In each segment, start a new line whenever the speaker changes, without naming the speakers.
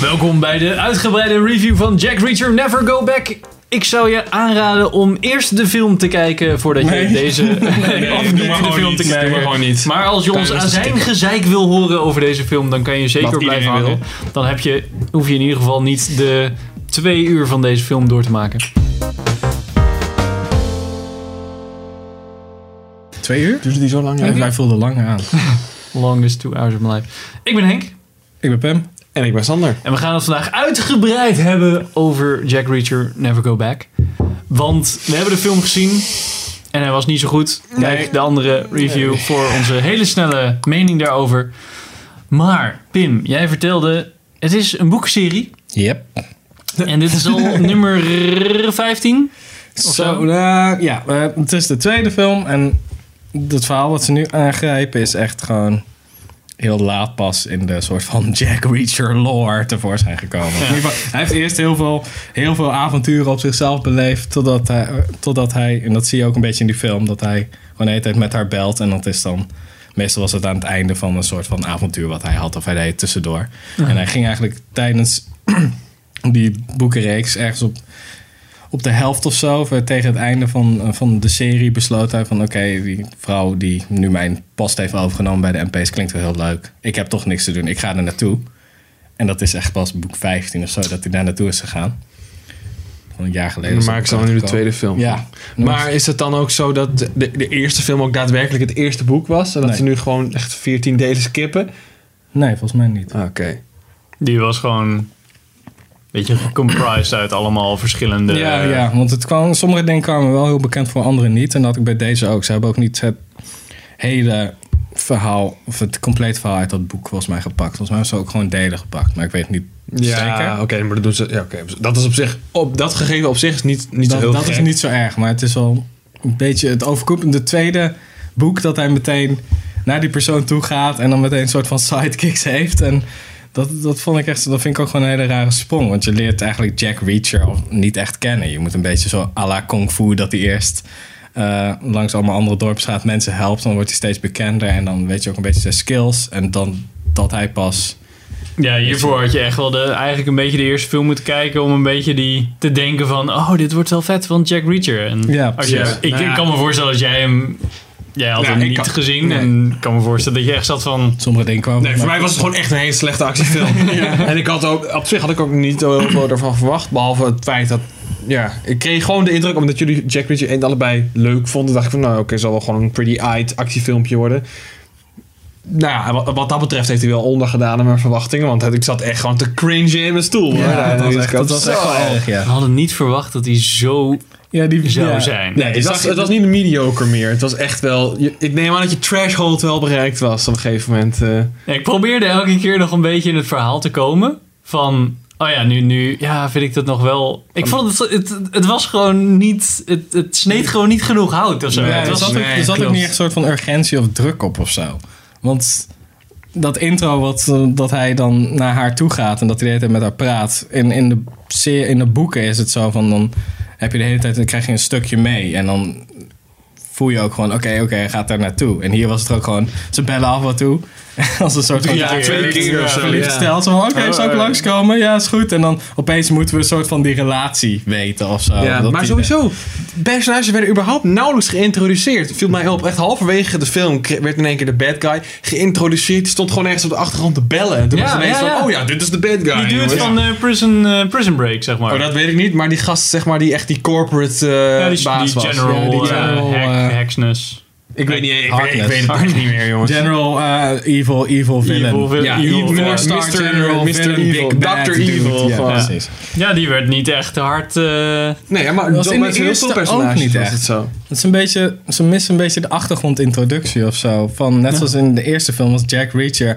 Welkom bij de uitgebreide review van Jack Reacher Never Go Back. Ik zou je aanraden om eerst de film te kijken voordat je
Nee.
deze... of
doe
niet
maar
de
gewoon
film
niet,
te
doe
kijken.
maar gewoon niet.
Maar als je
Kan je
ons aan
rustig
zijn
stikken.
gezeik wil horen over deze film, dan kan je zeker
Wat
blijven
iedereen
hangen. Dan heb je, hoef je in ieder geval niet de twee uur van deze film door te maken.
Twee uur? Duurde die zo lang?
Twee uur?
Wij voelden lang aan.
Longest two hours of my life. Ik ben Henk.
Ik ben Pam.
En ik ben Sander.
En we gaan het vandaag uitgebreid hebben over Jack Reacher Never Go Back. Want we hebben de film gezien en hij was niet zo goed. Kijk de andere review voor onze hele snelle mening daarover. Maar Pim, jij vertelde, het is een boekserie.
Yep.
En dit is al nummer 15.
Zo,
zo?
nou, ja, eh, het is de tweede film en het verhaal wat ze nu aangrijpen is echt gewoon heel laat pas in de soort van Jack Reacher lore tevoorschijn gekomen. In ieder geval, hij heeft eerst heel veel, heel veel avonturen op zichzelf beleefd totdat hij, eh, totdat hij, en dat zie je ook een beetje in die film, dat hij gewoon de hele tijd met haar belt en dat is dan... Meestal was het aan het einde van een soort van avontuur wat hij had of hij deed tussendoor. En hij ging eigenlijk tijdens die boekenreeks ergens op op de helft of zo, of, eh, tegen het einde van, eh, van de serie, besloot hij van... oké, die vrouw die nu mijn post heeft overgenomen bij de NP's klinkt wel heel leuk. Ik heb toch niks te doen, ik ga er naartoe. En dat is echt pas boek 15 of zo, dat hij daar naartoe is gegaan. Van een jaar geleden. is
En dan
dat
maken ze dan nu
uitgekomen.
de tweede film.
Ja.
Maar is het dan ook zo dat de, de eerste film ook daadwerkelijk het eerste boek was? En dat
Nee.
ze nu gewoon echt 14 delen skippen?
Nee, volgens mij niet.
Ah, Oké.
Die was gewoon een beetje gecomprimed uit allemaal verschillende...
Ja, ja, want het kwam, sommige dingen kwamen me wel heel bekend voor, andere niet. En dat had ik bij deze ook. Ze hebben ook niet het hele verhaal, of het complete verhaal uit dat boek volgens mij gepakt. Volgens mij hebben ze ook gewoon delen gepakt, maar ik weet niet
Ja,
zeker.
oké. maar dat doen ze... Ja, oké. Dat is op zich... Op, dat gegeven op zich is niet, niet zo
dat
heel
dat
gek.
is niet zo erg, maar het is al een beetje het overkoepelende tweede boek dat hij meteen naar die persoon toe gaat en dan meteen een soort van sidekicks heeft. En dat, dat vond ik echt, dat vind ik ook gewoon een hele rare sprong. Want je leert eigenlijk Jack Reacher al niet echt kennen. Je moet een beetje zo à la kung fu dat hij eerst eh, langs allemaal andere dorpen gaat, mensen helpt. Dan wordt hij steeds bekender en dan weet je ook een beetje zijn skills. En dan dat hij pas
Ja, hiervoor had je echt wel de, eigenlijk een beetje de eerste film moeten kijken om een beetje die te denken van, oh, dit wordt wel vet van Jack Reacher. En
Ja,
als je,
precies.
ik,
Nou
ik
ja.
kan me voorstellen dat jij hem, jij had
Ja,
hem
ik
niet
kan-
gezien
nee.
en ik kan me voorstellen dat je echt zat van,
sommige dingen kwamen.
Nee, voor mij was het gewoon echt een hele slechte actiefilm. En ik had ook, op zich had ik ook niet zo heel veel ervan verwacht. Behalve het feit dat. Ja, ik kreeg gewoon de indruk, omdat jullie Jack Reacher 1 allebei leuk vonden. dacht ik van, nou oké, zal wel gewoon een pretty-eyed actiefilmpje worden. Nou ja, wat, wat dat betreft heeft hij wel ondergedaan aan mijn verwachtingen. Want het- ik zat echt gewoon te cringe in mijn stoel. hoor.
ja, dat was
ik
echt,
had
dat was
zo-
echt wel erg, ja.
we hadden niet verwacht dat hij zo...
Ja, die
zou zijn.
Nee, het
ik
was,
zag-
het was niet mediocre meer. Het was echt wel... je- ik neem aan dat je threshold wel bereikt was op een gegeven moment. eh.
Ja, ik probeerde elke keer nog een beetje in het verhaal te komen van, oh ja, nu, nu ja, vind ik dat nog wel... Ik vond het, het, het was gewoon niet, het, het sneed gewoon niet genoeg hout of zo.
Ja,
Het
er
was-
zat, ook,
nee,
er zat ook
klopt.
niet echt een soort van urgentie of druk op of zo. Want dat intro wat, eh, dat hij dan naar haar toe gaat en dat hij de hele tijd met haar praat. In, in, de, se- in de boeken is het zo van dan heb je de hele tijd dan krijg je een stukje mee. En dan voel je ook gewoon oké, oké, hij gaat daar naartoe. En hier was het ook gewoon, ze bellen af wat toe. Als een soort van
Ja, twee keer of zo,
verliefd
ja.
stel. Zo van oké,
Oh,
zou ik
eh.
langskomen? Ja, is goed. En dan opeens moeten we een soort van die relatie weten of zo.
Ja,
Dat
maar
die-
sowieso, personages werden überhaupt nauwelijks geïntroduceerd. Viel mij op. Echt halverwege de film kre- werd in één keer de bad guy geïntroduceerd. Die stond gewoon ergens op de achtergrond te bellen. En toen
Ja,
was ineens
ja, ja.
van, oh ja, dit is de bad guy.
die dude
jongens.
van eh, prison, eh, prison Break, zeg maar.
Oh, dat weet ik niet, maar die gast, zeg maar, die echt die corporate eh,
ja, die,
baas
die
was.
general,
Ja, die
eh,
general,
hack-
eh,
hacksness.
Ik weet niet, ik, weet- ik
Harkness.
weet het ook niet meer, jongens.
General eh, Evil, Evil Villain.
Evil villain.
ja,
Evil,
Evil,
ja.
Star
Mr.
General, Mr.
Villain,
Evil,
Big Bad
Dr.
Dude.
Evil.
Ja,
gewoon.
precies.
Ja, die werd niet echt hard. eh,
Nee, maar
was
dat
in de
met heel
eerste
veel
ook
personages
niet
was
echt.
het zo.
Het is een beetje, ze missen een beetje de achtergrondintroductie of zo. Van, net zoals in de eerste film was Jack Reacher.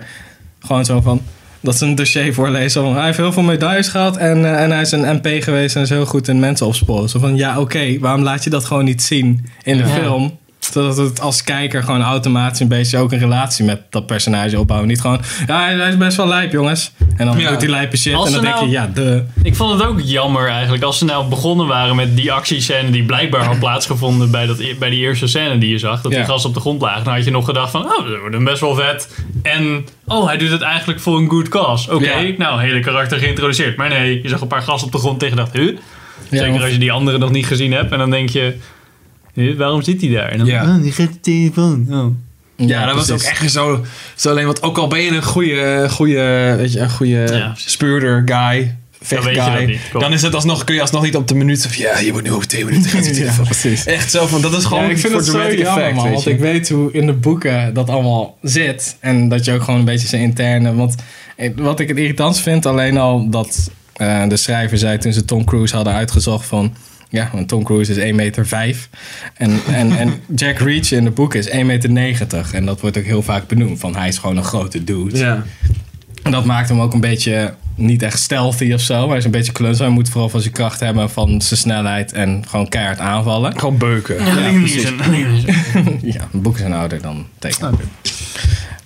Gewoon zo van, dat ze een dossier voorlezen. Van, hij heeft heel veel medailles gehad en, eh, en hij is een MP geweest en is heel goed in mensen opsporen. Zo van, ja oké, waarom laat je dat gewoon niet zien in de
Ja.
film? Zodat het als kijker gewoon automatisch een beetje ook een relatie met dat personage opbouwen. Niet gewoon, ja, hij hij is best wel lijp, jongens. En dan
Ja.
doet hij lijpe shit
Als
en dan
ze
denk je,
nou-
ja, de...
Ik vond het ook jammer eigenlijk. Als ze nou begonnen waren met die actiescène die blijkbaar had plaatsgevonden bij, dat, e- bij die eerste scène die je zag. Dat
Ja.
die gast op de grond lag. Dan had je nog gedacht van, oh, dat wordt hem best wel vet. En, oh, hij doet het eigenlijk voor een good cause. Oké,
Ja.
nou, hele karakter geïntroduceerd. Maar nee, je zag een paar gasten op de grond tegen dacht, huh? Zeker
want-
als je die andere nog niet gezien hebt. En dan denk je, huh, waarom zit hij daar? En dan,
Ja.
oh, die gaat de telefoon. Oh.
Ja, dat was ook echt zo, zo alleen. Want ook al ben je een goede, goede, weet je, een goede
Ja.
speurder, guy, vecht
weet je dat
guy.
niet. Kom.
Dan is het alsnog, kun je alsnog niet op de minuut van ja, je moet nu over twee minuten gaan zitten.
Ja, precies.
Echt zo van, dat is gewoon
Ja, ik vind
voor
het zo
dramatic
jammer,
effect,
man.
weet
Want
je.
ik weet hoe in de boeken dat allemaal zit. En dat je ook gewoon een beetje zijn interne... Want eh, wat ik het irritant vind, alleen al dat eh, de schrijver zei toen ze Tom Cruise hadden uitgezocht van... Ja, want Tom Cruise is 1,5 meter. En, en, en Jack Reach in de boeken is 1,90 meter. En dat wordt ook heel vaak benoemd. Van hij is gewoon een grote dude.
Ja.
En dat maakt hem ook een beetje niet echt stealthy of zo. Maar hij is een beetje klus. Hij moet vooral van zijn kracht hebben, van zijn snelheid en gewoon keihard aanvallen.
Gewoon beuken.
Ja,
precies.
ja,
Ja, boeken zijn ouder dan tekenen.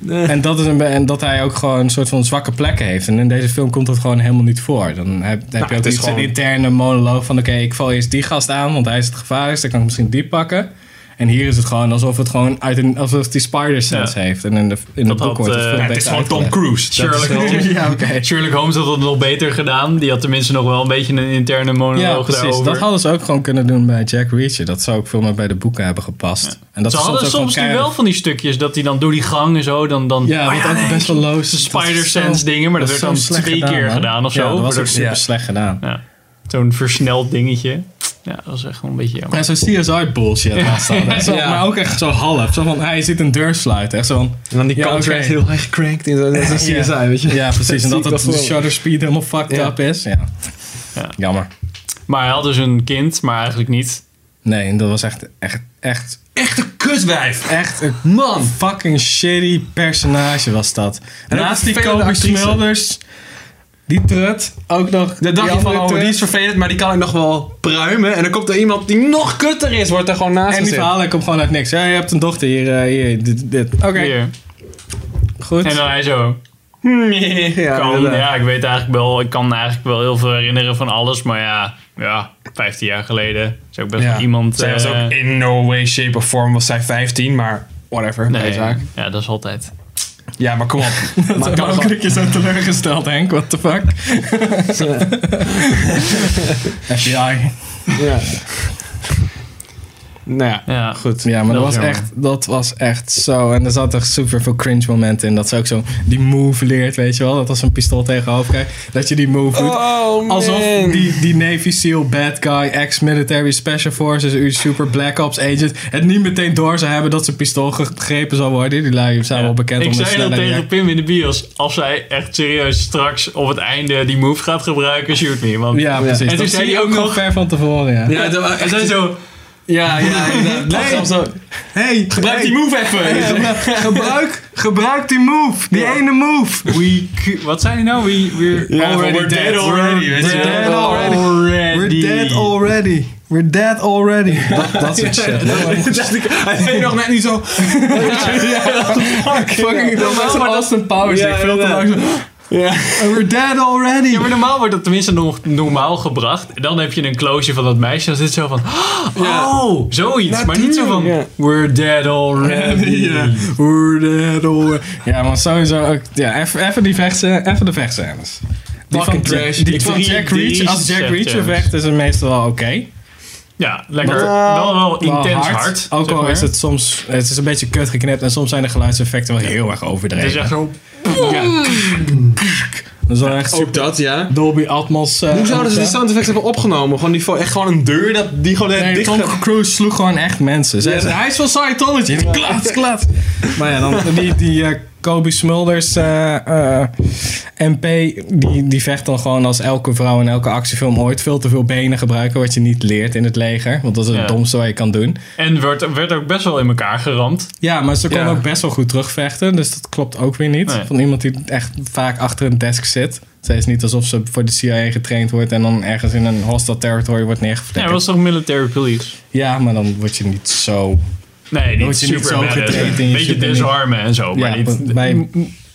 En, dat is een, be- en dat hij ook gewoon een soort van zwakke plekken heeft. En in deze film komt dat gewoon helemaal niet voor. Dan heb,
Nou,
heb je ook
het is
iets een
gewoon-
interne monoloog van... oké, ik val eerst die gast aan, want hij is het gevaarlijkste. Dan kan ik misschien die pakken. En hier is het gewoon alsof het gewoon uit een, alsof die spider sense heeft. En in de, in de
Dat
boek
had,
wordt het
eh,
veel
ja,
het is
beter
gewoon Tom
uitgelegd.
Cruise.
Sherlock
Dat is wel-
Cruise.
Ja, oké.
Sherlock Holmes had het nog beter gedaan. Die had tenminste nog wel een beetje een interne
Ja,
monoloog
precies.
daarover.
Dat hadden ze ook gewoon kunnen doen bij Jack Reacher. Dat zou ook veel meer bij de boeken hebben gepast. En dat
Ze
is
hadden
ook
soms,
gewoon
nu
keihard-
wel van die stukjes dat hij dan door die gang en zo dan. dan
Ja,
maar
want dat is
Oh nee,
best wel loos.
de
Dat is
Spider-Sense
zo-
dingen, maar dat
is
werd
zo
dan
slecht
twee keer
man.
gedaan of
Ja,
zo.
dat was ook
Waardoor-
super
ja.
slecht gedaan.
ja, Zo'n versneld dingetje. Ja, dat is echt wel een beetje jammer.
En zo'n CSI bullshit was dat. hè. Zo,
Ja.
Maar ook echt zo half. Zo van, hij zit een deur sluiten. Echt zo van,
En dan die
Ja,
kant
oké.
werd heel erg gekrankt. in zo'n- Dat is een CSI, weet je.
ja precies. En
zie ik
dat het
wel
de
voor.
shutter speed helemaal fucked
Ja.
up is. Ja.
Ja.
Jammer.
Maar hij had dus een kind, maar eigenlijk niet.
Nee, dat was echt, echt, echt,
Echt een kutwijf.
echt een
Man.
fucking shitty personage was dat.
En ook
Naast die
vervelende
Kobe
actrice.
Smulders, die trut, ook nog...
Dan dacht je van,
andere
oh,
trut.
die is vervelend, maar die kan ik nog wel pruimen. En dan komt er iemand die nog kutter is, wordt er gewoon naast
En die
gezet.
verhalen komt gewoon uit niks. Ja, je hebt een dochter hier, eh, hier dit, dit. Oké,
Weer.
goed.
En eh, dan hij zo.
Hmm, Ja,
Kan,
inderdaad.
ja, ik weet eigenlijk wel. Ik kan eigenlijk wel heel veel herinneren van alles. Maar ja, ja 15 jaar geleden is ook best wel iemand.
Zij was
eh,
ook in no way, shape of form was zij 15, maar whatever.
nee,
bijzaak.
ja, dat is altijd.
Ja, maar kom op.
Maar
maar kan
ook
gewoon-
dat je zo teleurgesteld, Henk. What the fuck? FBI.
ja. Nou ja,
Ja.
goed.
Ja, maar
Dat
dat, was
was jammer.
echt, dat was echt zo. En er zat echt super veel cringe momenten in. Dat ze ook zo die move leert, weet je wel. Dat als ze een pistool tegen haar hoofd krijgt, dat je die move doet.
Oh,
Alsof die, die Navy SEAL bad guy, ex-military special forces, uw super black ops agent... het niet meteen door zou hebben dat zijn pistool gegrepen zal worden. Die lui zijn Nou, wel bekend
ik
om een
zei dat
snelle
tegen
react-
Pim in de bios. Als zij echt serieus straks op het einde die move gaat gebruiken, shoot me. Want
Ja, precies.
En toen
dat
zei hij
zie je
ook
ook nog
nog-
ver van tevoren, ja.
Ja, dat was
En zij
echt-
zo,
ja, ja, inderdaad.
Nee.
Dat was zo-
Hey,
Gebruik die move even.
gebruik, gebruik die move. Die ene move.
we, cu- wat zei hij nou? We, we're
Ja,
already
we're dead
dead
already, weet
We're,
je
dead
wel.
already.
We're dead already. We're dead already. Dat, soort shit.
Hij deed nog net niet zo.
Fucking, dat was een Austin Powers.
Ja,
ik veel te lang
inderdaad.
zo-
Ja.
We're dead already.
Ja, maar normaal wordt dat tenminste nog normaal gebracht. En dan heb je een close van dat meisje. Dan zit zo van,
Ja.
oh, zoiets. Maar niet zo van,
Ja.
we're dead already.
Ja, we're dead already. Ja, maar sowieso ook... Ja, even even die vechtse, even de vechtscènes. Die van,
Fucking trash.
die
Ik
van
vond
Jack
die
Reacher. Als Jack
vechtscènes.
Reacher vecht is het meestal wel oké.
Ja, lekker.
Maar-
wel wel
Wel
intens hard.
Ook
zeg
al
maar.
is het soms... Het is een beetje kut geknipt. En soms zijn de geluidseffecten wel heel erg
Het is
overdreven.
Dus echt zo...
Dat is wel echt super
Ook dat, ja.
Dolby Atmos. eh,
Oh. Hoe zouden ze die
eh,
sound effects hebben opgenomen? Gewoon die, vo- echt gewoon een deur dat, die gewoon
Nee,
dicht
Tom Cruise sloeg gewoon echt mensen. Zij
Ja.
zei, hij is van Scientology. Klats, klats. Maar ja, dan die, die eh, Kobe Smulders eh, eh, MP, die, die vecht dan gewoon als elke vrouw in elke actiefilm ooit veel te veel benen gebruiken, wat je niet leert in het leger. Want dat is het
Ja.
domste wat je kan doen.
En werd, werd ook best wel in elkaar geramd.
Ja, maar ze kon
Ja.
ook best wel goed terugvechten. Dus dat klopt ook weer niet.
Nee.
Van iemand die echt vaak achter een desk zit. Zij is niet alsof ze voor de CIA getraind wordt en dan ergens in een hostile territory wordt
Ja,
neergeflikkerd.
was toch military police?
Ja, maar dan word je niet zo
Nee, niet
Moet je niet
super
zo
badass.
getraind in je
Beetje
super-
disarmen en zo, maar
Ja,
niet
bij-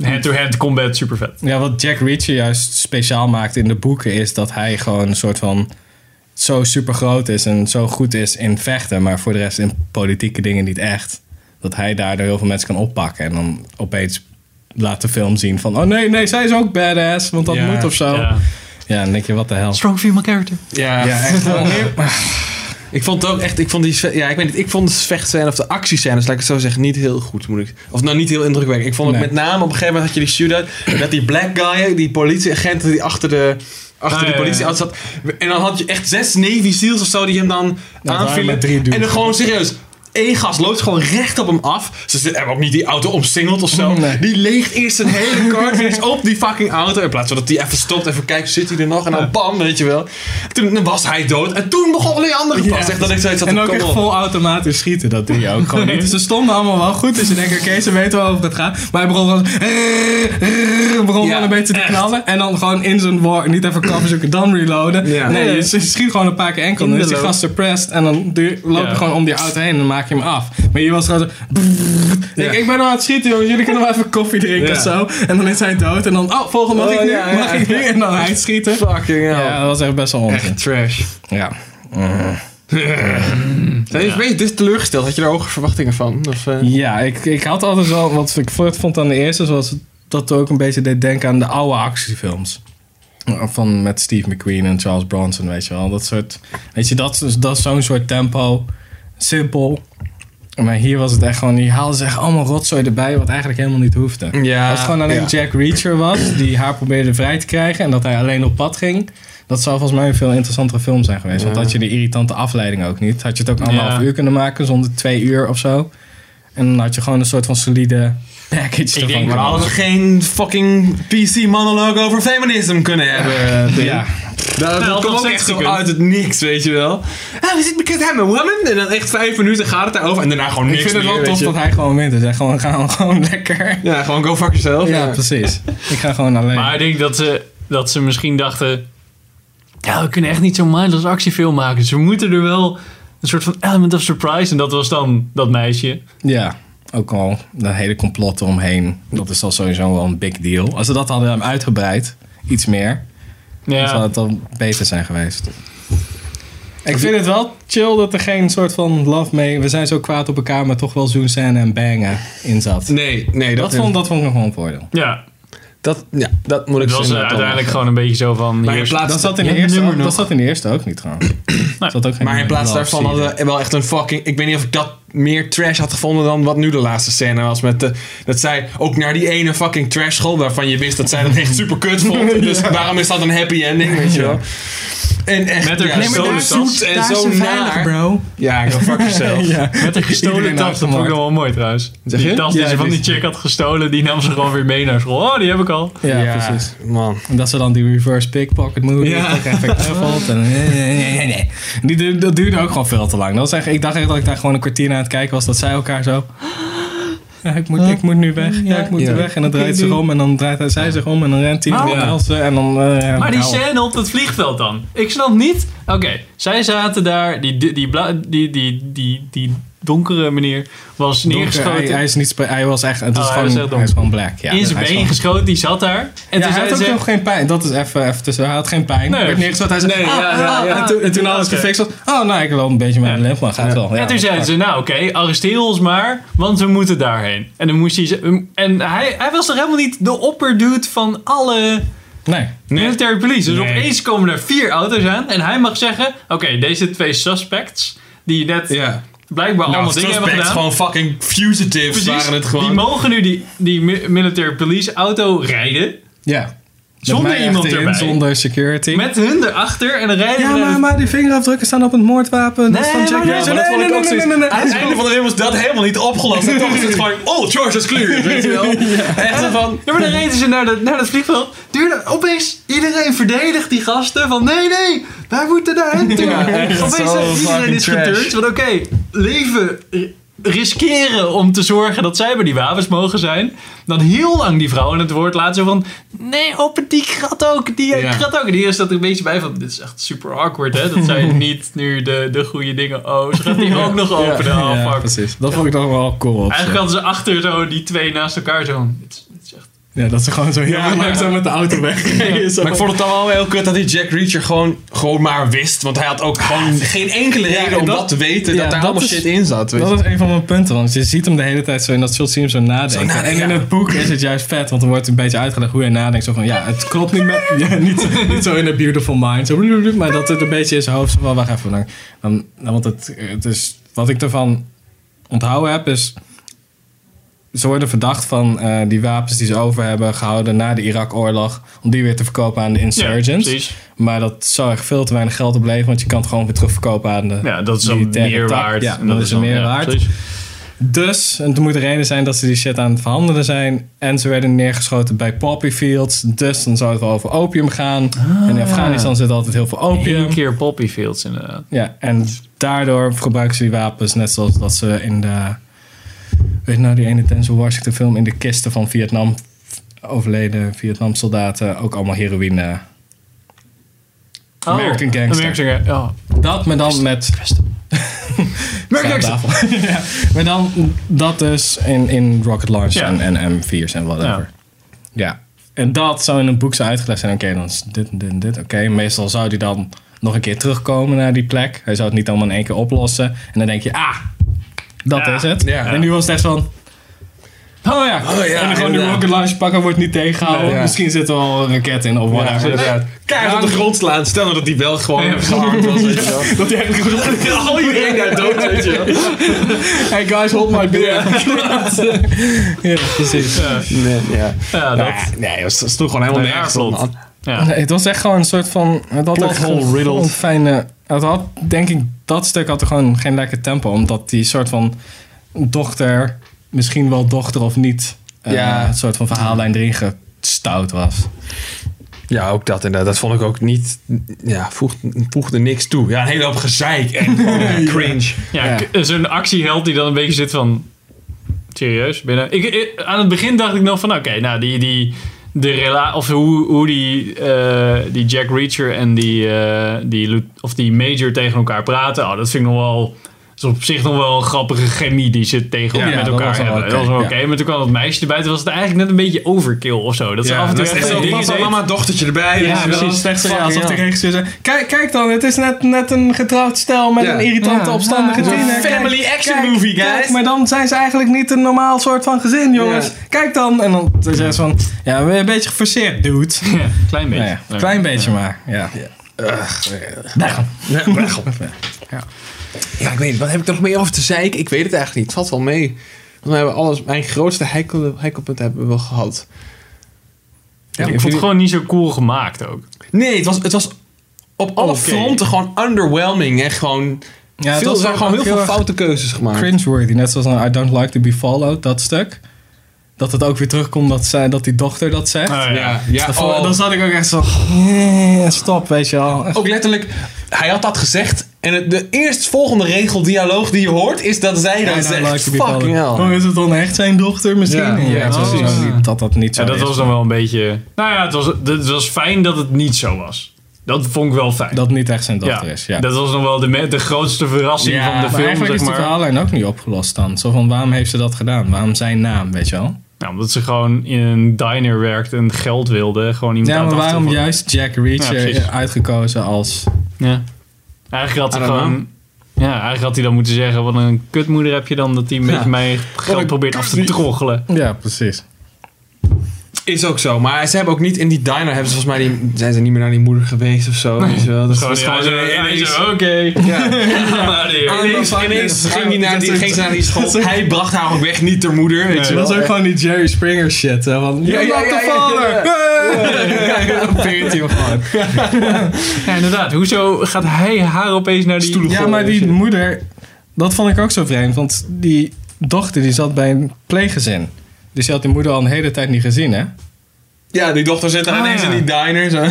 hand-to-hand combat super vet.
Ja, wat Jack Reacher juist speciaal maakt in de boeken is dat hij gewoon een soort van zo super groot is en zo goed is in vechten, maar voor de rest in politieke dingen niet echt. Dat hij daardoor heel veel mensen kan oppakken en dan opeens laat de film zien van oh nee, nee, zij is ook badass, want dat
Ja,
moet of zo. Ja,
Ja.
dan denk je wat de hel.
Strong female character.
Ja,
Ja, echt wel.
Ik vond het ook echt, ik vond die, sve- ja, ik weet niet, ik vond de vechtscène of de actiescènes, laat ik het zo zeggen, niet heel goed, moet ik. Of nou niet heel indrukwekkend. Ik vond het
Nee.
met name op een gegeven moment had je die shootout met die black guy, die politieagent die achter de achter
Ah,
die
ja, ja.
politie zat. En dan had je echt zes Navy SEALs of zo die hem dan
waren
aanvielen.
maar drie dudes.
En dan gewoon serieus. Eén gast loopt gewoon recht op hem af. Ze zit- hebben ook niet die auto omsingeld of zo.
Nee.
Die leegt eerst een hele cartridge op die fucking auto. In plaats van dat die even stopt, even kijkt, zit hij er nog? En dan bam, weet je wel. Toen was hij dood. En toen begon alleen andere pas. Echt dat ik zoiets had,
en ook
kom
echt
op.
vol automatisch schieten, dat doe je ook gewoon niet. Dus ze stonden allemaal wel goed, dus je denkt, oké, ze weten wel over het gaat. Maar hij begon gewoon, begon
Ja,
wel een beetje te
echt.
knallen. En dan gewoon in zijn war, niet even cover zoeken, dan reloaden.
Ja.
Nee, je
Nee.
s- schiet gewoon een paar keer enkel, dan
In
is
de
die
loop.
gast suppressed. En dan duur- loop je
Ja.
gewoon om die auto heen en dan maak je hem af. Maar je was gewoon zo, ik, ik ben al aan het schieten jongens, jullie kunnen wel even koffie drinken
Ja.
of zo. En dan is hij dood en dan, oh, volgende mag
Oh,
ik nu,
ja, ja.
mag ik nu? En dan hij schieten.
Fucking hell.
Ja, dat was echt best wel onzin.
Echt trash.
Ja.
Zijn je een beetje dit teleurgesteld? Had je er hoge verwachtingen van? Of, eh?
Ja, ik, ik had altijd wel wat ik flirt vond aan de eerste, was dat het ook een beetje deed denken aan de oude actiefilms. Van met Steve McQueen en Charles Bronson, weet je wel. Dat soort, weet je, dat, is- dat is zo'n soort tempo. Simpel. Maar hier was het echt gewoon, die haalden ze echt allemaal rotzooi erbij, wat eigenlijk helemaal niet hoefde.
Ja,
Als het gewoon alleen
ja.
Jack Reacher was, die haar probeerde vrij te krijgen en dat hij alleen op pad ging. Dat zou volgens mij een veel interessantere film zijn geweest. Want had je die irritante afleiding ook niet. Had je het ook anderhalf
Ja.
uur kunnen maken zonder twee uur of zo. En dan had je gewoon een soort van solide package ervan
denk
kunnen
We hadden
maken.
geen fucking PC-monoloog over feminisme kunnen hebben. Tim.
Ja,
Dat,
Nou,
dat
dat
komt ook
zegt
echt
ze
zo
kunnen.
uit het niks, weet je wel. Ah, we zitten bekend hem, een woman. En dan echt vijf minuten gaat het daarover. En daarna gewoon
ik
niks
vind het
meer,
wel
weet
tof
je.
dat hij gewoon wint. Dus hij gewoon, gaan gewoon lekker.
Ja, gewoon go fuck yourself.
Ja, precies. Ik ga gewoon alleen.
Maar ik denk dat ze, dat ze misschien dachten... Ja, we kunnen echt niet zo'n mindless actiefilm maken. Dus we moeten er wel een soort van element of surprise. En dat was dan dat meisje.
Ja, ook al de hele complot eromheen. Dat is al sowieso wel een big deal. Als ze dat hadden uitgebreid, iets meer, dan zou
Ja,
het dan beter zijn geweest. Ik vind het wel chill dat er geen soort van love mee... We zijn zo kwaad op elkaar, maar toch wel zoenscène en bangen in zat.
Nee, nee, dat,
dat, vond, dat vond ik gewoon een voordeel.
ja.
dat, ja, dat moet ik
het was
zeggen,
eh,
dat dan.
uiteindelijk gewoon een beetje zo van...
Maar in
hier-
plaats,
Dat zat in de,
Ja,
eerste,
nummer
ook,
nog.
dat zat in de eerste ook niet trouwens. Zat ook geen
maar in plaats
love
daarvan
scene.
hadden we wel echt een fucking... Ik weet niet of ik dat meer trash had gevonden dan wat nu de laatste scène was. Met de, dat zij ook naar die ene fucking trash school... waarvan je wist dat zij dat echt super kut vond. Dus waarom is dat een happy ending, weet je wel? En echt,
Met haar
ja,
gestolen
zo
tas.
zoet en zo naar.
bro.
Ja, go fuck yourself.
Ja.
Met een gestolen
Iedereen
tas, dat vond ik
uitgemaakt.
dan wel mooi trouwens.
Zeg je?
Die tas die
Ja,
ze van
die-
die chick had gestolen, die nam ze gewoon weer mee naar school. Oh, die heb ik al.
Ja, precies.
Man.
En dat ze dan die reverse pickpocket move
Ja.
ja. effect en Die duurde, dat duurde ook gewoon veel te lang. Dat was echt, ik dacht echt dat ik daar gewoon een kwartier naar aan het kijken was. Dat zij elkaar zo... Ja, ik, moet, ik moet nu weg. Ja, ik moet
Ja.
er weg. En dan
Oké,
draait ze
doei.
om en dan draait hij- zij zich om en dan rent hij en dan
Ja.
belt ze en dan... eh, ja,
Maar die
nou.
scène op dat vliegveld dan? Ik snap niet. Oké, zij zaten daar. Die, die, die, bla- die, die, die, die donkere meneer was
Donker,
neergeschoten.
hij, hij is niet... spe- Hij was echt... Het
Oh,
is
hij
gewoon,
was
hij,
echt dom.
is gewoon black.
in
Ja,
zijn
Hij is
been
gewoon-
geschoten, die zat daar. En
Ja,
toen
hij
zei
had ook
ze...
nog geen pijn. Dat is even, even tussen. Hij had geen pijn.
Nee.
Werd neergezet. Hij zei,
Nee,
ah,
ja,
ah,
ja,
ah,
ja.
En toen, en toen alles
Oké.
gefixt was. Oh, nou, ik loop een beetje met mijn limp, maar gaat wel.
en toen zeiden ze, nou oké, arresteer ons maar, want we moeten daarheen. En dan moest hij... ze- En hij, hij was toch helemaal niet de opperdude van alle
Nee.
military police. Dus
Nee.
opeens komen er vier auto's aan en hij mag zeggen... Oké, deze twee suspects, die net
Ja.
blijkbaar allemaal dingen hebben gedaan...
gewoon fucking fugitives
Precies,
waren het gewoon.
die mogen nu die, die mi- military police auto rijden.
Ja. Met
Zonder
mij echt
iemand
in,
erbij.
Zonder security.
Met hun erachter en dan rijden
ja,
we
maar,
naar
maar die vingerafdrukken staan op het moordwapen. dat is
Nee,
van Jack
maar-
Ja,
Reacher.
maar dat vond ik ook zoiets. Aan het
Hij is
einde van de film is dat helemaal niet opgelost. En toch is het gewoon, oh, George is clear. Weet je wel? Echt zo van...
de- Ja, maar dan reden ze naar, dat naar dat vliegveld. Duurde, opeens iedereen verdedigt die gasten. Van nee, nee, wij moeten daarheen toe.
Ja, echt
opeens
zo
heeft iedereen
fucking
is
trash.
geturnd. Want oké, leven eh, riskeren om te zorgen dat zij bij die wapens mogen zijn. Dan heel lang die vrouw aan het woord laten. Zo van, nee, open die krat ook. Die
Ja.
krat ook. En hier staat er een beetje bij van, dit is echt super awkward hè. Dat zijn niet nu de, de goede dingen. Oh, ze gaat die ook nog openen.
Ja,
Oh, fuck.
precies. Dat vond ik dan wel cool op zich.
Eigenlijk hadden ze achter zo die twee naast elkaar zo. van, Dit is, dit is echt...
Ja, dat ze gewoon zo heel
Ja,
lang zo met de auto wegrijden. zo.
Maar ik vond het dan wel heel kut dat die Jack Reacher gewoon, gewoon maar wist. Want hij had
Ah,
ook gewoon geen enkele
Ja,
reden om
dat-
dat te weten.
ja,
dat daar
dat
allemaal
is-
shit in zat. Weet je.
Dat is een van mijn punten, want je ziet hem de hele tijd zo in dat shot zien hem zo nadenken.
Zo nadenken,
en in
ja.
het boek is het juist vet, want er wordt een beetje uitgelegd hoe hij nadenkt. Zo van, ja, het klopt niet met... Ja, niet, niet zo in een beautiful mind, zo, blablabla, maar dat het een beetje in zijn hoofd... Zo van, wacht even, dan, dan, dan- want het, het is, wat ik ervan onthouden heb is... Ze worden verdacht van eh, die wapens die ze over hebben gehouden na de Irak-oorlog... om die weer te verkopen aan de insurgents.
precies.
maar dat zou echt veel te weinig geld opleveren... want je kan het gewoon weer terugverkopen aan de
Ja, dat is dan
militaire
meer
tak.
waard.
Ja, dat is
dan-
een meer
ja,
waard.
precies.
Dus, en er moet een reden zijn dat ze die shit aan het verhandelen zijn. En ze werden neergeschoten bij poppy fields. Dus dan zou het wel over opium gaan. En in Afghanistan zit altijd heel veel opium.
Ah. Eén keer Poppy Fields inderdaad.
Ja, en daardoor gebruiken ze die wapens net zoals dat ze in de... Weet je nou, die ene Denzel Washington film in de kisten van Vietnam... overleden Vietnam soldaten ook allemaal heroïne. American Gangster.
Oh. American Gangster. Ja.
Dat, maar dan met
American Gangster.
tafel. ja. Maar dan dat dus in, in rocket launch
Ja.
en, en M4's en whatever.
Ja.
Ja. En dat zou in een boek zijn uitgelegd zijn. Oké, dan is dit en dit en dit. Oké, meestal zou die dan nog een keer terugkomen naar die plek. Hij zou het niet allemaal in één keer oplossen. En dan denk je, ah, dat
Ja.
is het.
Ja.
En nu was het echt van... Oh ja.
Oh ja,
en dan gewoon die
inderdaad.
rocket launch pakken, wordt niet tegengehouden.
Nee, ja.
Misschien zit er al een raket in of
Ja,
whatever.
inderdaad. Keihard op de grond slaan. Stel nou dat die wel gewoon
Ja.
gearmd was. Weet je wel.
dat hij eigenlijk gewoon...
Al iedereen daar dood, weet je wel.
Hey guys, hold my beer. ja, precies.
Nee, ja.
Ja, dat.
Nou, nee, dat sloeg gewoon helemaal
Nee,
nergens op,
klopt.
man.
Ja.
Nee, het was echt gewoon een soort van. Het had
Plot
al
hole
gewoon
riddled.
een fijne. Het had, denk ik, dat stuk had er gewoon geen lekker tempo. Omdat die soort van dochter, misschien wel dochter of niet, eh,
Ja.
een soort van verhaallijn erin gestouwd was.
Ja, ook dat inderdaad. Dat vond ik ook niet... Ja, voegt- voegde niks toe. Ja, een hele hoop gezeik en ja, cringe.
Ja,
Ja.
k- zo'n actieheld die dan een beetje zit van... Serieus? Binnen. Ik, ik- aan het begin dacht ik nog van... Oké, nou die... die de rela of hoe, hoe die, eh, die Jack Reacher en die, eh, die, Lu- of die Major tegen elkaar praten. Oh, dat vind ik nog wel... is op zich nog wel een grappige chemie die ze tegen
Ja,
met
dat
elkaar
was wel
hebben.
oké,
Dat was wel oké.
ja.
Maar toen kwam dat meisje erbij. Toen was het eigenlijk net een beetje overkill of zo. Dat ze af en toe
dat
echt
is
zo'n
echt
dingen
papa,
deed.
mama, dochtertje erbij.
Ja,
weet je wel.
precies. Slecht zo, ja,
Fucking
alsof de
hell.
regisseur zei... Kijk, kijk dan, het is net, net een getrouwd stel met
Ja.
een irritante
Ja.
opstandige
Ja.
tiener. Kijk,
Family action
kijk,
movie,
kijk,
guys.
maar dan zijn ze eigenlijk niet een normaal soort van gezin, jongens.
Ja.
Kijk dan. En dan zei ze van... Ja, we een beetje geforceerd, dude.
Ja, klein beetje.
Nou ja, een klein beetje maar. Ja.
Nee, maar god. Ja, ik weet niet. Wat heb ik er nog meer over te zeiken? Ik weet het eigenlijk niet. Het valt wel mee. Want we hebben alles... Mijn grootste heikel, heikelpunt hebben we wel gehad.
Ja, ik vond het gewoon niet zo cool gemaakt ook.
Nee, het was, het was op alle
Oké.
fronten gewoon underwhelming. En gewoon...
Ja, het
veel,
was
er zijn
ook
gewoon heel
heel
veel
erg
foute keuzes gemaakt.
Cringeworthy. Net zoals aan I Don't Like To Be Followed, dat stuk. Dat het ook weer terugkomt dat, zij, dat die dochter dat zegt.
Ah,
Ja, ja.
Dan
oh.
vond- Dan zat ik ook echt zo... "Yeah, Stop, weet je wel.
Ook letterlijk, hij had dat gezegd. En het, de eerstvolgende regel, dialoog die je hoort, is dat zij
Ja, nou,
dat
dan
zegt.
lijkt het niet
Fucking
wel.
hell.
Oh, is het dan echt zijn dochter misschien?
Ja, ja,
precies.
zo- Dat dat niet zo
Ja, dat
is.
was dan wel een beetje. Nou ja, het was, het was fijn dat het niet zo was. Dat vond ik wel fijn.
Dat het niet echt zijn
ja.
dochter is, ja.
dat was nog wel de, me- de grootste verrassing
Ja,
van de
maar
film.
eigenlijk
Zeg
is de
maar.
verhaallijn ook niet opgelost dan. Zo van, waarom heeft ze dat gedaan? Waarom zijn naam, weet je wel?
Nou, omdat ze gewoon in een diner werkt en geld wilde. Gewoon iemand
Ja,
aan
maar
het
waarom
achtervolgen.
juist Jack
Ja,
Reacher
precies.
uitgekozen als...
Ja. Eigenlijk had
I
hij
don't
gewoon. Ja, eigenlijk had hij dan moeten zeggen: wat een kutmoeder heb je dan dat hij met
Ja.
mij geld
een
probeert af te
kutmoeder.
troggelen.
Ja, precies.
Is ook zo. Maar ze hebben ook niet in die diner, hebben ze volgens mij die, zijn ze niet meer naar die moeder geweest of zo. weet je wel. Dat is
Gewoon,
gewoon,
ja,
gewoon
zo-
ineens-
ja, zo, oké.
ja.
Maar nee.
Ineens, ineens ging, die naar die, ging ze naar die school. Hij bracht haar ook weg, niet ter moeder. Weet je
dat
wel.
is ook gewoon die Jerry Springer shit, hè? Van, ja,
Ja, ja, ja,
the
ja,
father!
Ja, inderdaad. Hoezo gaat hij haar opeens naar die.
Ja, maar die moeder, dat vond ik ook zo vreemd. Want die dochter die zat bij een pleeggezin. Dus die had die moeder al een hele tijd niet gezien, hè?
Ja, die dochter zit daar
Ah,
ineens
ja.
in die diner. Zo.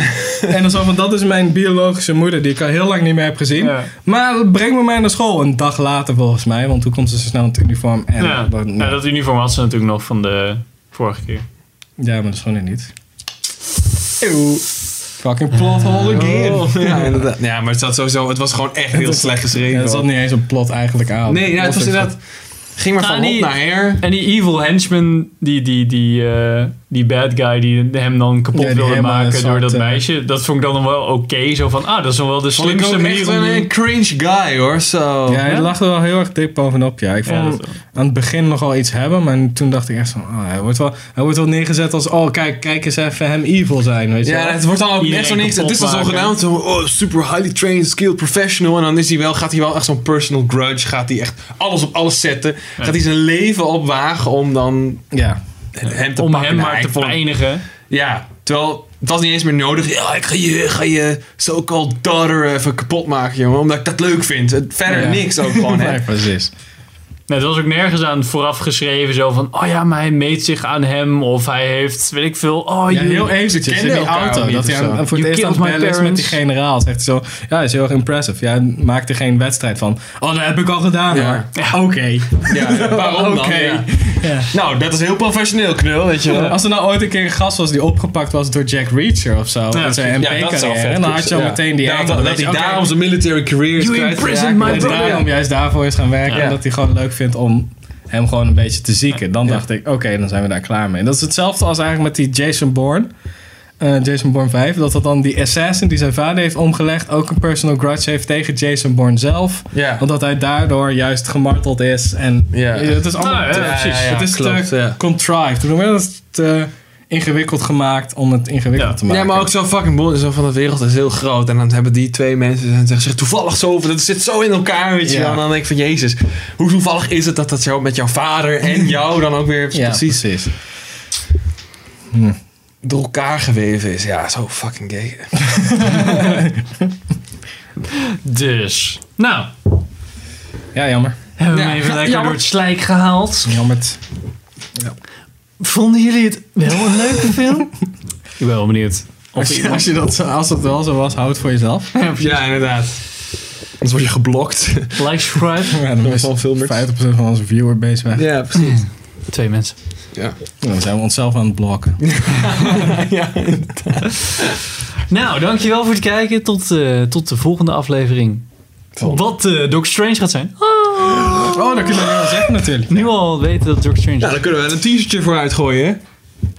En dan zo van, dat is mijn biologische moeder, die ik al heel lang niet meer heb gezien.
Ja.
Maar breng me maar naar school. Een dag later volgens mij, want toen komt ze zo snel in het uniform. En
Ja.
dat-
Nou, dat uniform had ze natuurlijk nog van de vorige keer.
ja, maar dat is gewoon weer niet. Eeuw. Fucking plot hole again.
Oh, ja, inderdaad. ja, maar het zat sowieso. Het was gewoon echt heel slecht geschreven.
Ja, dat zat niet eens een plot eigenlijk aan.
nee, ja, het
Of
was
iets
inderdaad. Ging maar
Ah,
van hot
die-
naar her.
En die evil henchman, die, die, die, eh, die bad guy die hem dan kapot
Ja, die
wilde
helemaal
maken door
zwart,
dat
eh,
meisje. Dat vond ik dan nog wel oké. zo van, ah, dat is nog wel de
Vond ik
slimste
ook echt
manier om
een eh,
die...
cringe guy hoor. Zo.
van- Ja, hij
Ja?
lag er wel heel erg dik bovenop. Ja, ik vond
Ja,
hem
dat wel.
aan het begin nogal iets hebben, maar toen dacht ik echt van, ah, hij, wordt wel, hij wordt wel neergezet als, oh kijk, kijk eens even hem evil zijn, weet je
Ja,
wel.
het wordt dan ook
Iedereen
net zo niks. Het is dan zo
kapot maken.
genaamd zo, oh, super highly trained, skilled professional. En dan is hij wel, gaat hij wel echt zo'n personal grudge. Gaat hij echt alles op alles zetten. Gaat hij zijn leven opwagen om dan
Ja.
hem te
Om
pakken.
hem
Nou,
maar
ik
te
vond-
pijnigen.
Ja, terwijl het was niet eens meer nodig. Ja, ik ga je, ga je so-called daughter even kapot maken, jongen. Omdat ik dat leuk vind. Het- Verder
Ja.
niks ook gewoon, hè.
Nee, precies.
Nee, het was ook nergens aan vooraf geschreven zo van... Oh ja, maar hij meet zich aan hem. Of hij heeft, weet ik veel... Oh,
Ja,
you-
heel eventjes in
kenden
die
elkaar ook
auto.
niet
Dat hij
of zo.
aan, voor het
You
eerst aan
killed
het
my
bellen is met die
parents.
generaal. Zegt hij zo, ja, is heel erg impressive. Ja, hij maakt er geen wedstrijd van. Oh, dat heb ik al gedaan
Ja.
hoor. Oké.
Ja, waarom dan?
Oké.
Ja.
Ja.
Nou, dat is heel professioneel, knul, weet je wel.
Als er nou ooit een keer een gast was die opgepakt was door Jack Reacher of zo.
Ja,
in zijn
Ja, dat zou
MP-carrière.
vet
en dan had je al
kunnen
meteen die
zijn. Ja,
angle,
dat,
weet
dat
je,
hij
oké.
daarom zijn military career is
You
kwijt
imprisoned
geraakt.
my
En daarom juist daarvoor is gaan werken.
Ja.
En dat hij gewoon leuk vindt om hem gewoon een beetje te zieken. Dan dacht ik, oké, dan zijn we daar klaar mee. Dat is hetzelfde als eigenlijk met die Jason Bourne. eh, Jason Bourne 5. Dat dat dan die assassin die zijn vader heeft omgelegd... ook een personal grudge heeft tegen Jason Bourne zelf.
Ja.
Omdat hij daardoor juist gemarteld is. En
Ja.
het is allemaal...
Nou, ja,
te-
ja, ja,
precies.
ja,
het is
klopt,
te
ja.
contrived. Hoe noem je dat? Het is te ingewikkeld gemaakt om het ingewikkeld
Ja.
te maken.
Ja, maar ook zo fucking boel. Zo van de wereld is heel groot. En dan hebben die twee mensen en zeggen zich toevallig zo over. Dat zit zo in elkaar, weet je
Ja.
wel. En dan denk ik van, jezus, hoe toevallig is het dat dat jou met jouw vader en jou dan ook weer
Ja,
precies
precies.
door elkaar geweven is. Ja, zo fucking gay.
Dus, nou...
Ja, jammer.
Hebben we hem
Ja,
even lekker
jammer.
door het slijk gehaald.
Jammer.
Vonden jullie het wel een leuke film? ik ben wel benieuwd. Of
Als, je,
iemand-
als, je dat, als dat wel zo was, houd het voor jezelf.
Ja, inderdaad. Anders word je geblokt.
Like, subscribe.
Ja, dan is
Van filmers.
50% van onze viewerbase weg.
Ja, precies.
Twee mensen.
Ja.
Dan zijn we onszelf aan het blokken.
ja.
Nou, dankjewel voor het kijken. Tot, eh, tot de volgende aflevering.
Van-
Wat eh Doctor Strange gaat zijn. Ah,
Oh, dat kun je wel zeggen natuurlijk.
nu al weten dat het Doctor Strange
Nou,
is.
dan kunnen we er een teasertje voor uitgooien, hè?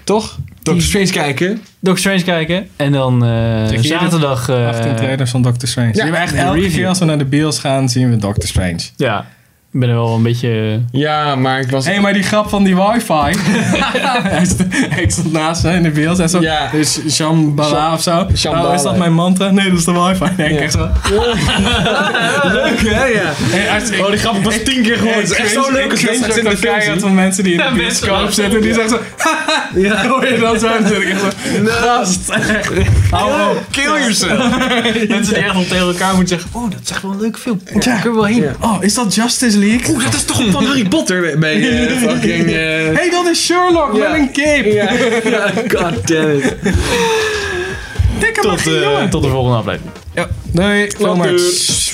Toch? Doctor Strange kijken.
Doctor Strange kijken. En dan eh,
Check je
zaterdag... eh,
18 trailers van Doctor Strange.
Ja,
zien we echt
een
elke
review.
keer als we naar de bios gaan, zien we Doctor Strange.
ja, ik ben er wel een beetje...
Ja, maar ik was...
Hé, hey, maar die grap van die wifi. Hij st- ik stond naast hem in de bios en zo.
Ja.
Dus Shambhala of zo.
Shambhala.
Oh, is dat mijn mantra? Nee, dat is de wifi. Nee, ik echt zo.
Leuk, hè? Ja.
Hey, als- ik-
Oh, die grap was tien keer gehoord.
Hey,
Het is echt
cringe-
zo leuk.
Ik
als
cringe
mensen dat
ook
in de
de
film zien.
keihard van mensen die in de
Ja, mensen
bioscoop
wel.
zitten. Die zeggen zo... Ja, hoor je dat zo? Dan zit ik echt zo... Gast, echt. Hou op.
Oh, Kill yourself.
eh, Mensen die echt al tegen elkaar moeten zeggen... Oh, dat is echt wel een leuke film. Oh, daar kunnen we wel heen.
Ja.
Oh, is dat Justice League?
Oeh, dat is toch van Harry Potter bij eh, fucking... eh,
hey, dat is Sherlock, wel een cape.
Ja, god damn it.
Dikke
Tot,
magie,
eh,
jongen.
tot de volgende aflevering.
Ja. Nee,
Later.
Lomax.